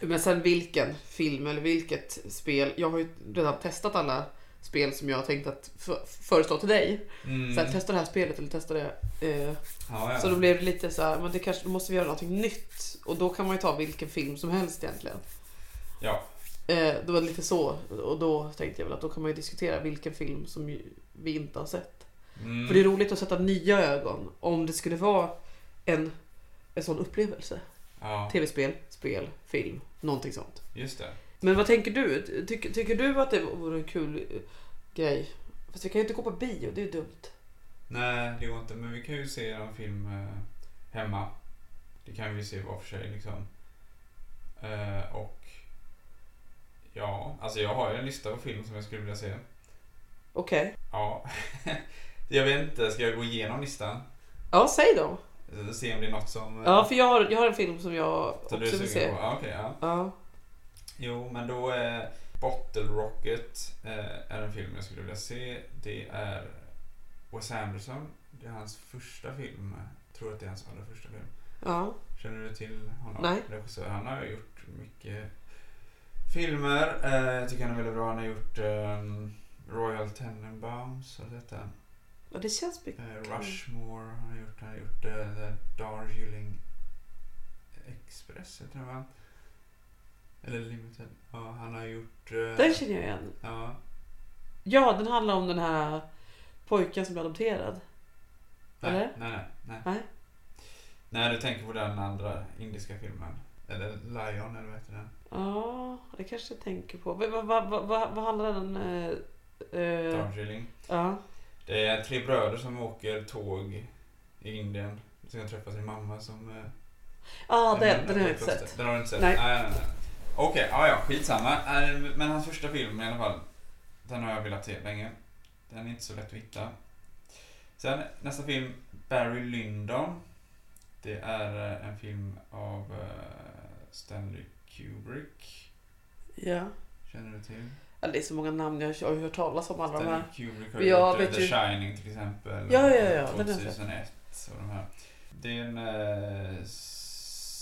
Men sen vilken film eller vilket spel. Jag har ju redan testat alla spel som jag har tänkt att f- föreslå till dig.
Mm.
Så här, testa det här spelet eller testa det. Eh,
ja, ja.
Så då blev det lite så här, men det kanske, då måste vi göra någonting nytt. Och då kan man ju ta vilken film som helst egentligen.
ja.
Eh, det var lite så. Och då tänkte jag väl att då kan man ju diskutera vilken film som ju vi inte har sett.
Mm.
För det är roligt att sätta nya ögon om det skulle vara en, en sån upplevelse.
ja,
Tv-spel, spel, film, någonting sånt.
just det.
Men vad tänker du? Tycker, tycker du att det vore en kul eh, grej? Fast vi kan ju inte gå på bio, det är ju dumt.
Nej, det går inte. Men vi kan ju se en film eh, hemma. Det kan vi se var för sig liksom. Eh, och ja, alltså jag har ju en lista på film som jag skulle vilja se.
Okej.
Ja, <laughs> jag vet inte. Ska jag gå igenom listan?
Ja, säg då.
Eh, Se om det är något som... eh,
Ja, för jag har, jag har en film som jag också
som du är
vill
sugen
se.
på? Ja, okej, ja.
Ja.
Jo, men då är Bottle Rocket eh, är en film jag skulle vilja se. Det är Wes Anderson. Det är hans första film. Jag tror att det är hans allra första film.
Ja.
Känner du till honom?
Nej.
Regissör. Han har gjort mycket filmer. Eh, jag tycker han är väldigt bra. Han har gjort ehm, Royal Tenenbaums, vad heter den?
ja, det känns mycket.
Eh, Rushmore har han gjort. Han har gjort eh, The Darjeeling Express, heter den va? Eller Limited. Ja, han har gjort... eh,
Den känner jag igen.
ja,
Ja, den handlar om den här pojken som blev adopterad.
nej,
Eller?
nej, nej, nej.
Nej.
Nej, du tänker på den andra indiska filmen. Eller Lion, eller vad heter den?
Ja, det kanske jag tänker på. Vad, vad, vad, vad, vad handlar den... eh, eh,
Darjeeling.
Ja.
Det är tre bröder som åker tåg i Indien. De ska träffa sin mamma som... eh,
Ja,
men-
den, den har jag inte sett.
Den har du inte sett?
Nej.
nej, nej. nej. Okej, ja, ja, skitsamma. Eh, Men hans första film i alla fall, den har jag velat se länge. Den är inte så lätt att hitta. Sen nästa film, Barry Lyndon. Det är eh, en film av eh, Stanley Kubrick.
Ja.
Känner du till?
ja. Det är så många namn jag jag har hört talas om alla de
Stanley
här.
Kubrick har
Men jag
gjort eh,
vet
The
ju-
Shining till exempel.
Ja, ja, ja, den har jag sett.
2001 och de här. Det är en eh,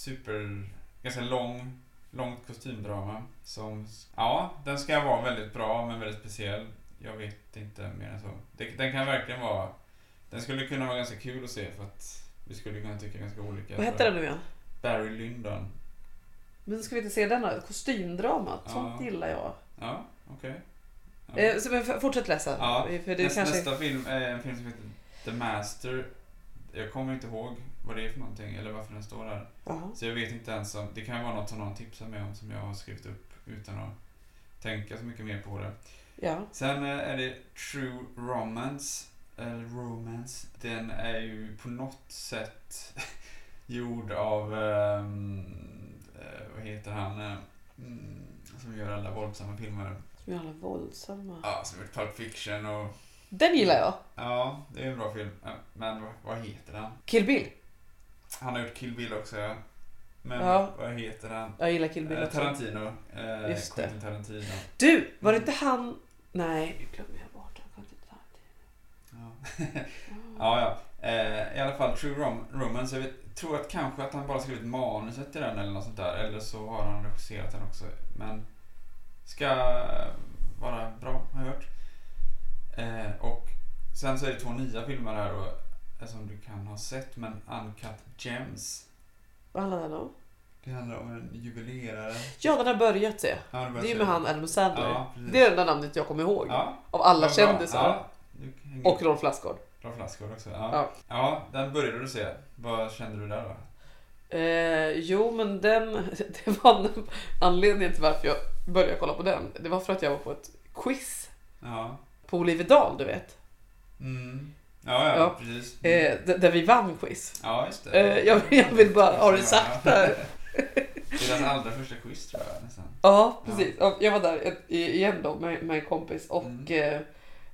super... Ganska lång, långt kostymdrama. Som, ja, den ska vara väldigt bra men väldigt speciell. Jag vet inte mer än så. Det, den kan verkligen vara... Den skulle kunna vara ganska kul att se för att vi skulle kunna tycka ganska olika.
Vad hette den nu igen?
Barry Lyndon.
Men ska vi inte se den då? Kostymdramat,
Ja.
sånt gillar jag.
Ja, okej. Ja.
Eh, så, men f- fortsätt läsa.
Ja,
För det
Nästa,
kanske...
nästa film är en film som heter The Master. Jag kommer inte ihåg vad det är för någonting eller varför den står där.
Jaha.
Så jag vet inte ens om... Det kan vara något som någon tipsar mig om som jag har skrivit upp utan att tänka så mycket mer på det.
Ja.
Sen eh, är det True Romance. Eller Romance. Den är ju på något sätt <laughs> gjord av... ehm, eh, vad heter han? eh, mm, som gör alla våldsamma filmer.
Som är alla våldsamma.
Ja, som gjort Pulp Fiction och...
Den gillar jag.
Ja, det är en bra film. Ja, Men vad- vad heter den?
Kill Bill.
Han har gjort Kill Bill också ja. Men
Ja.
vad heter den?
Jag gillar Kill Bill
Eh,
också.
Tarantino. Eh,
Just det.
Quentin Tarantino.
Du, var det inte han... Nej, nu glömmer jag bort han. Kom inte
Ja,
fram.
ja. ja. Eh, I alla fall True Rom- Romance. Jag vet, tror att kanske att han bara skrivit manuset till den eller något sånt där. Eller så har han regisserat den också. Men ska vara bra har jag hört. Eh, och sen så är det två nya filmer här då. eh, Som du kan ha sett. Men Uncut Gems.
Vad handlar den om?
Det handlar om en juvelerare.
Ja, den har börjat se.
Ja,
Det
börjar
är ju
se.
med han Adam Sandler.
Ja, precis.
Det är det enda namnet jag kommer ihåg.
Ja,
Av alla
vad bra.
kändisar.
Ja, du kan hänga
Och
upp
Rolf Lassgård.
bra flaskor också. Ja.
Ja.
Ja. den började du se. Vad kände du där då?
Eh, jo, men den... <laughs> Det var den- anledningen till varför jag började kolla på den. Det var för att jag var på ett quiz
Ja.
på Olivedal, du vet.
Mm. Ja, ja,
Ja.
precis. Mm.
eh, d- där vi vann quiz.
Ja, just det.
Eh, jag, jag vill bara ha det
<laughs>
sagt där.
Deras allra första quiz tror jag nästan.
Ja, precis. Ja, Jag var där i- igen då med, med en kompis och
Mm.
eh,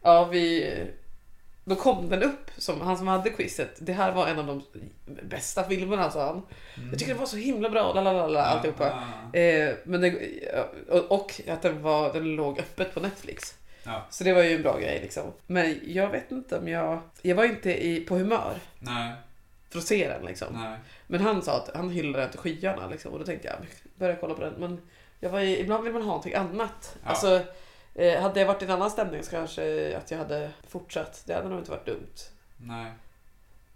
ja, vi... Då kom den upp, som, han som hade quizet. Det här var en av de bästa filmerna, sa han. Jag tycker det var så himla bra, la la la la, alltihopa.
Mm. Ja,
Eh, men det, och- och att den, var, den låg öppet på Netflix.
Ja.
Så det var ju en bra grej liksom. Men jag vet inte om jag... Jag var inte i, på humör
Nej,
för att se den liksom.
nej.
Men han sa att han hyllade den till skyarna liksom, och då tänkte jag börja kolla på den. Men jag var ju, ibland vill man ha någonting annat.
Ja.
Alltså, eh, hade jag varit i en annan stämning så kanske att jag hade fortsatt. Det hade nog inte varit dumt.
Nej.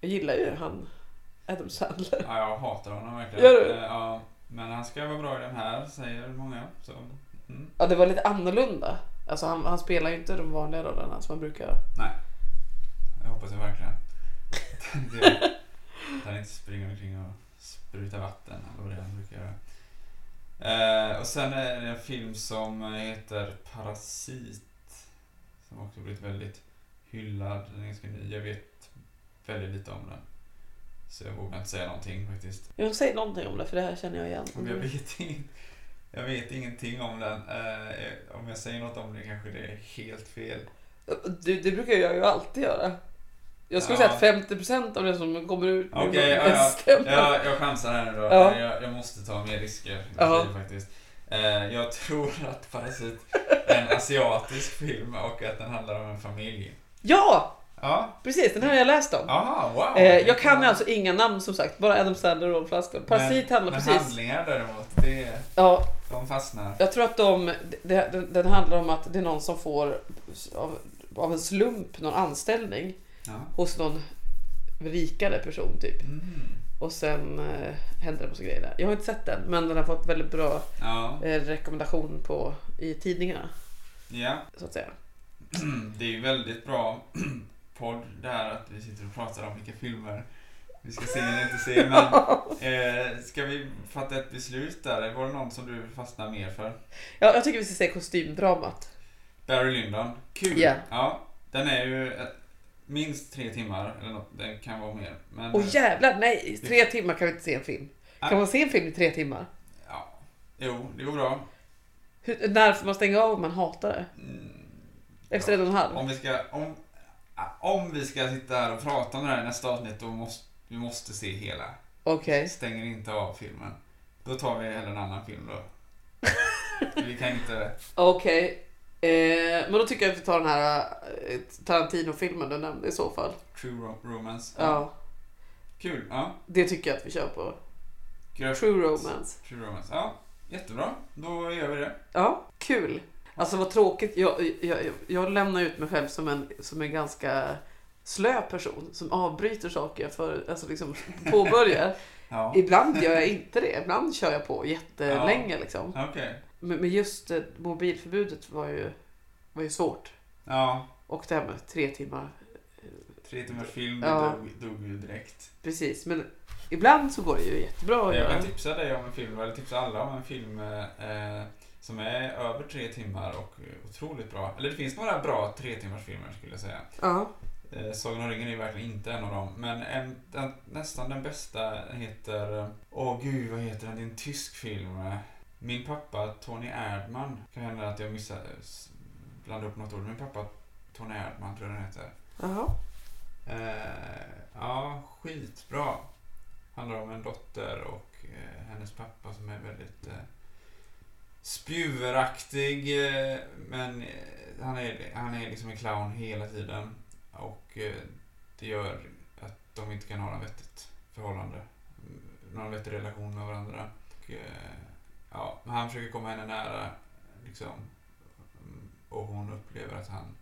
Jag gillar ju han Adam Sandler.
Ja, jag hatar honom verkligen.
Gör du?
Eh, Ja, men han ska vara bra i den här, säger många. Så. Mm.
Ja, det var lite annorlunda. Alltså han, han spelar ju inte de vanliga rollerna som man brukar.
Jag hoppas det verkligen. <laughs> Tänkte jag inte springer omkring och sprutar vatten eller vad det är han brukar göra. Eh, och sen är det en film som heter Parasit. Som också blivit väldigt hyllad. Den är ganska ny. Jag vet väldigt lite om den. Så jag vågar inte säga någonting faktiskt.
Jag säger någonting om det för det här känner jag igen.
Om jag, vet ing- jag vet ingenting om den. Eh, om jag säger något om det kanske det är helt fel.
Det, det brukar jag ju alltid göra. Jag skulle
Ja.
säga att 50% av det som kommer ut
Okej,
min mun
ja, ja.
stämmer.
Jag, jag chansar här nu då.
Ja.
Jag, jag måste ta mer risker. i mitt
Ja.
liv faktiskt. Eh, jag tror att Parasit är en asiatisk film och att den handlar om en familj.
ja,
Ja,
precis. Den här har jag läst om.
aha, wow.
Eh, jag kan alltså inga namn som sagt, bara Adam Sandler och Rolf Lassgård. Parasit
men,
handlar
men
precis...
handlingar däremot, det,
Ja,
de fastnar.
jag tror att de, det, den, den handlar om att det är någon som får av, av en slump någon anställning
Ja.
hos någon rikare person typ.
Mm.
Och sen eh, händer det massa grejer där. Jag har inte sett den, men den har fått väldigt bra
Ja.
eh, rekommendation på, i tidningarna.
ja, <clears throat>
Så att säga.
det är ju väldigt bra <clears throat> podd det här att vi sitter och pratar om vilka filmer vi ska se eller inte se.
<laughs>
Men, eh, ska vi fatta ett beslut där? Var det någon som du fastnade mer för?
Ja, jag tycker vi ska se kostymdramat.
Barry Lyndon. Kul!
Ja.
Ja, den är ju eh, minst tre timmar, eller något, det kan vara mer. Men,
Åh jävlar, nej! i Tre timmar kan vi inte se en film. Kan
Nej.
man se en film i tre timmar?
ja. Jo, det går bra.
Hur, när får man stänga av om man hatar det?
Mm,
Efter en och en halv?
Om vi ska, om, om vi ska sitta här och prata om det här i nästa avsnitt, då måste vi måste se hela.
Okej.
stänger inte av filmen. Då tar vi hellre en annan film
<laughs>
då. vi kan inte...
Okej. Eh, men då tycker jag att vi tar den här eh, Tarantino-filmen du nämnde i så fall.
True rom- Romance.
Ja.
Kul. Ja.
Det tycker jag att vi kör på.
Gröt.
True romance.
True Romance. Ja. Jättebra. Då gör vi det.
Ja, kul. Alltså vad tråkigt. Jag, jag, jag- jag lämnar ut mig själv som en, som en ganska slö person som avbryter saker jag för, alltså liksom påbörjar.
Ja.
Ibland gör jag inte det. Ibland kör jag på jättelänge liksom.
Okej.
Men, men just eh, mobilförbudet var ju, var ju svårt.
Ja.
Och det här med tre timmar
Tre timmars film det
Ja.
dog, dog ju direkt.
Precis, men ibland så går det ju jättebra
Jag
att göra.
kan tipsa dig om en film, eller tipsa alla om en film eh, som är över tre timmar och otroligt bra. Eller det finns några bra tre timmars filmer skulle jag säga.
Ja.
Eh, Sagan om ringen är ju verkligen inte en av dem. Men en, den, nästan den bästa heter... eh, Åh gud, vad heter den? Det är en tysk film. eh. Min pappa Tony Erdman. Kan hända att jag missar... eh, s- Blandar upp något ord. Min pappa Tony Erdman tror jag den heter.
Jaha.
Eh, ja, skitbra. Handlar om en dotter och eh, hennes pappa som är väldigt eh, spjuveraktig. Eh, men eh, han, är, han är liksom en clown hela tiden. Och eh, det gör att de inte kan ha något vettigt förhållande. Mm, Någon vettig relation med varandra. Och, eh, ja, men han försöker komma henne nära. Liksom, Mm, och hon upplever att han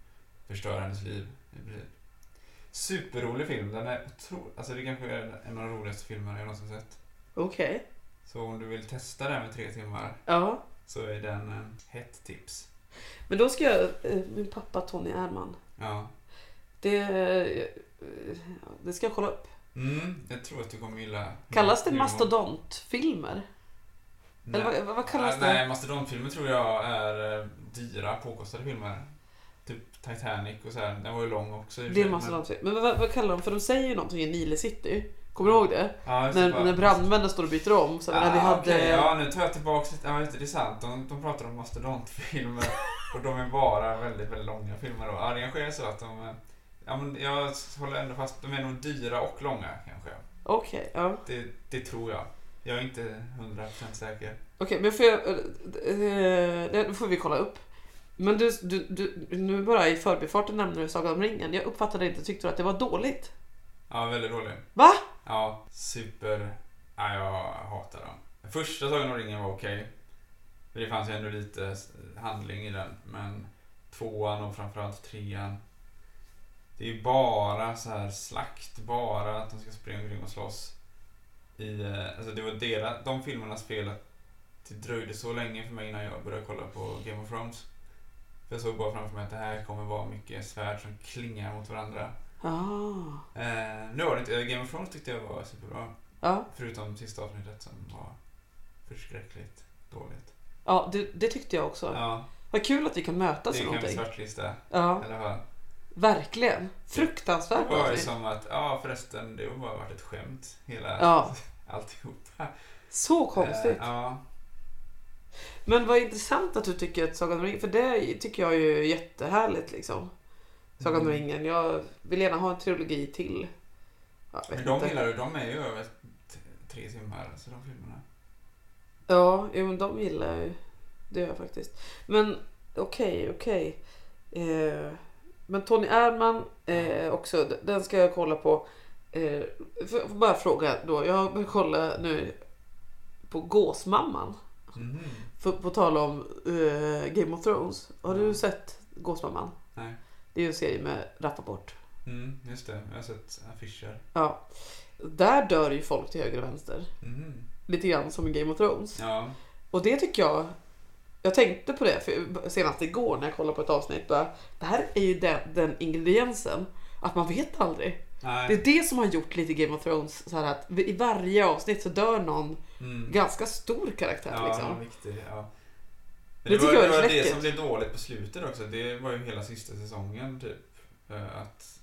förstör hennes liv. i princip. Superrolig film. Den är otrolig. Alltså det kanske är en av de roligaste filmerna jag någonsin sett.
Okej.
Så om du vill testa den med tre timmar
Ja.
så är den en hett tips.
Men då ska jag, eh, min pappa Tony Erdman.
Ja.
Det, eh, det ska jag kolla upp.
Mm, jag tror att du kommer gilla.
Kallas det
humor.
mastodontfilmer? Eller
Nej.
vad, vad kallas
Nej,
det?
mastodontfilmer tror jag är eh, dyra påkostade filmer. Typ Titanic och så här. Den var ju lång också. i och för
Det
sig,
måste
men-
de säga. Men vad, vad kallar de för? De säger ju någonting i Nile City. Kommer du ihåg det?
Ja, just det,
När,
bara-
när brandmännen står och byter om. Så här, när vi hade...
Ah, okej. Ja, nu tar jag tillbaka lite. Ja, just det, det är sant. De, de pratar om mastodontfilmer
<laughs>
och de är bara väldigt, väldigt långa filmer. Då. Ja, det kanske är så att de... eh, Ja, men jag håller ändå fast. De är nog dyra och långa kanske.
Okej, ja.
Det, det tror jag. Jag är inte 100% säker.
Okej, men får jag... eh, Det får vi kolla upp. Men du, du, du, nu bara i förbifarten nämner du Sagan om ringen. Jag uppfattade inte, tyckte du att det var dåligt?
Ja, väldigt dålig.
Va?
Ja, super... Ja, jag hatar dem. Första Sagan om ringen var okej. För det fanns ju ändå lite handling i den. Men tvåan och framförallt trean. Det är ju bara så här slakt. Bara att de ska springa omkring och slåss. I, eh, alltså det var deras, de filmernas fel att det dröjde så länge för mig innan jag började kolla på Game of Thrones. För jag såg bara framför mig att det här kommer vara mycket svärd som klingar mot varandra.
Ah.
Eh, nu var det inte, Game of Thrones tyckte jag var superbra.
Ja,
Förutom sista avsnittet som var förskräckligt dåligt.
ja det, det tyckte jag också.
Ja,
Vad kul att vi kan
det
mötas i
kan vi
någonting.
svartlista i
Ja,
alla fall.
verkligen. Fruktansvärt
Det var ju
avsnitt.
som att, ja förresten, det har bara varit ett skämt. Hela
Ja,
<laughs> alltihopa.
så konstigt.
Eh, ja,
Men vad intressant att du tycker att Sagan om ringen, för det tycker jag är ju jättehärligt liksom. Sagan om
Mm.
ringen. Jag vill gärna ha en trilogi till. Ja, vet
men de
inte.
gillar ju, de är ju över t- tre timmar, så de filmerna.
Ja, jo, men de gillar jag ju. Det gör jag faktiskt. Men okej, okej. Eh, men Tony Erdman eh, också, d- den ska jag kolla på. Eh, för, för bara fråga då, jag börjar kolla nu på Gåsmamman. Mm.
Mhm.
För, på tal om eh, Game of Thrones. Har du
Mm.
sett Gåsmamman?
Nej.
Det är ju en serie med Rappaport.
Mm, just det, jag har sett affischer.
Ja. Där dör ju folk till höger och vänster.
Mhm.
Lite grann som i Game of Thrones.
Ja,
Och det tycker jag jag tänkte på det för senast igår när jag kollade på ett avsnitt. Bara, det här är ju den, den ingrediensen. Att man vet aldrig. Det
nej.
är det som har gjort lite Game of Thrones. Så här att i varje avsnitt så dör någon
Mm.
ganska stor karaktär.
Ja,
liksom.
viktig, ja.
Det
Men det, var,
tycker jag är
det var
läckert.
det som blev dåligt på slutet också. Det var ju hela sista säsongen typ. Eh, Att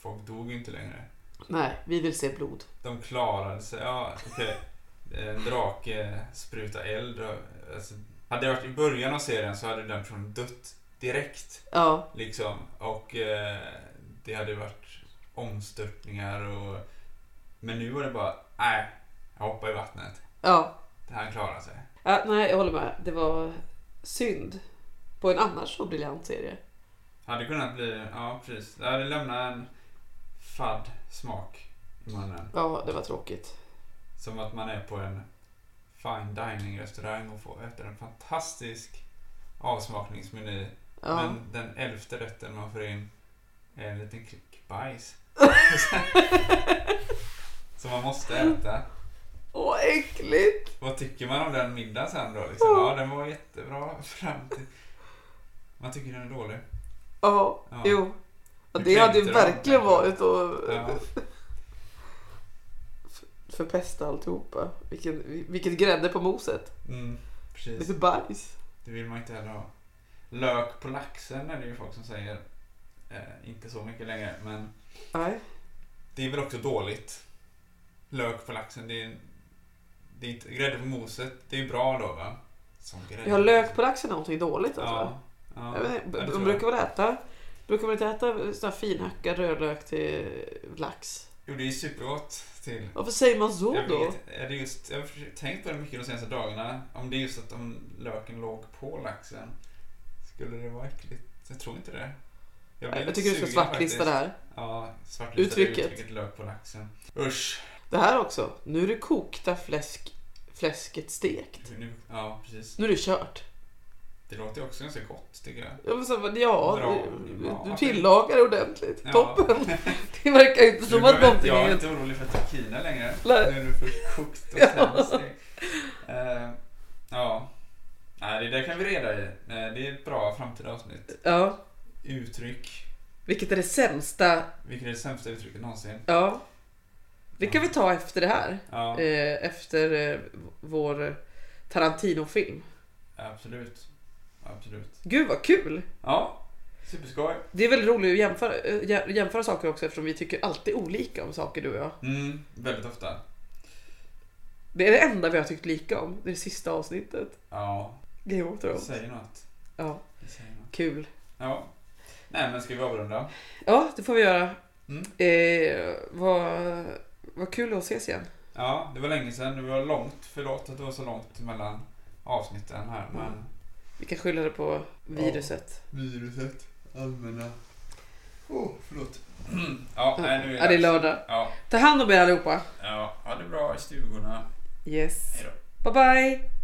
folk dog ju inte längre.
Nej, vi vill se blod.
De klarade sig. Ja, okej. En drake spruta eld. och- Alltså, hade det varit i början av serien så hade den personen dött direkt.
Ja,
Liksom. Och eh, det hade varit omstörtningar och... Men nu var det bara, nej. Jag hoppar i vattnet.
ja.
Han klarar sig.
ja Äh, nej, jag håller med. Det var synd. På en annars så briljant serie.
Hade kunnat bli, ja precis. Det hade lämnat en fadd smak i munnen.
Ja, det var tråkigt.
Som att man är på en fine dining restaurang och får äta en fantastisk avsmakningsmeny.
Ja.
Men den elfte rätten man får in är en liten klick
<laughs>
bajs. Som man måste äta.
Åh, äckligt!
Vad tycker man om den middagen sen då? Liksom? Ja, den var jättebra fram till... Man tycker den är dålig.
Ja,
Ja.
jo. Ja,
Nu
det hade ju
kränkte de.
verkligen varit att
Ja.
förpesta alltihopa. Vilken, vilket grädde på moset.
Mm, precis.
Lite bajs.
Det vill man inte heller ha. Lök på laxen är det ju folk som säger. Eh, inte så mycket längre, men
Nej.
det är väl också dåligt. Lök på laxen, det är, det är inte, grädde på moset, det är bra då va? Som grädde.
Jag har lök på laxen är någonting dåligt alltså.
Ja. ja,
Jag vet,
ja,
inte,
det
de
tror
brukar väl äta... Brukar man inte äta sån här finhackad rödlök till lax?
Jo, det är supergott till.
Varför säger man så
Jag,
då?
vet, är det just, jag har försökt- tänkt väldigt mycket de senaste dagarna om det är just att om löken låg på laxen skulle det vara äckligt. Jag tror inte det. blir
Jag,
lite
tycker du ska
sugen
svartlista
faktiskt.
det här.
Ja, svartlistade
Uttrycket.
uttrycket. uttrycket lök på laxen. Usch!
Det här också. Nu är det kokta fläsk, fläsket stekt.
Nu, ja, precis.
Nu är det kört.
Det låter ju också ganska gott, tycker jag.
Ja, men så, bara, ja
Bra.
du,
Ja.
du tillagar ordentligt.
Ja.
Toppen! <laughs> Det verkar inte som
Nu
att
behöver inte-
någonting
Jag
är
är
helt...
inte orolig för tequila längre.
Nej.
Nu är det för kokt och
<laughs> Ja.
tänds. Eh, ja. Nej, det där kan vi reda i. Eh, Det är ett bra framtida avsnitt.
Ja.
Uttryck.
Vilket är det sämsta?
Vilket är det sämsta uttrycket någonsin?
Ja. Det kan vi ta efter det här.
Ja,
Eh, efter eh, vår Tarantino-film.
absolut. Absolut.
Gud vad kul!
Ja. Superskoj.
Det är väldigt roligt att jämföra, eh, jä- jämföra saker också eftersom vi tycker alltid olika om saker du och jag.
Mm, väldigt ofta.
Det är det enda vi har tyckt lika om. Det är det sista avsnittet.
Ja,
Game of
det
Thrones.
säger något.
Ja,
Det säger något.
kul.
Ja. Nej, men ska vi avrunda?
Ja, det får vi göra.
Mm.
Eh, vad, vad kul att ses igen.
Ja, det var länge sedan. Det var långt. Förlåt att det var så långt mellan avsnitten här, men... <clears throat>
Vi kan skylla det på viruset.
Viruset. Allmänna... Åh, förlåt. ja, nej, nu
ja, det är lördag.
Ja,
Ta hand om er allihopa.
ja, ha det bra i stugorna.
Yes.
Hej då.
Bye bye.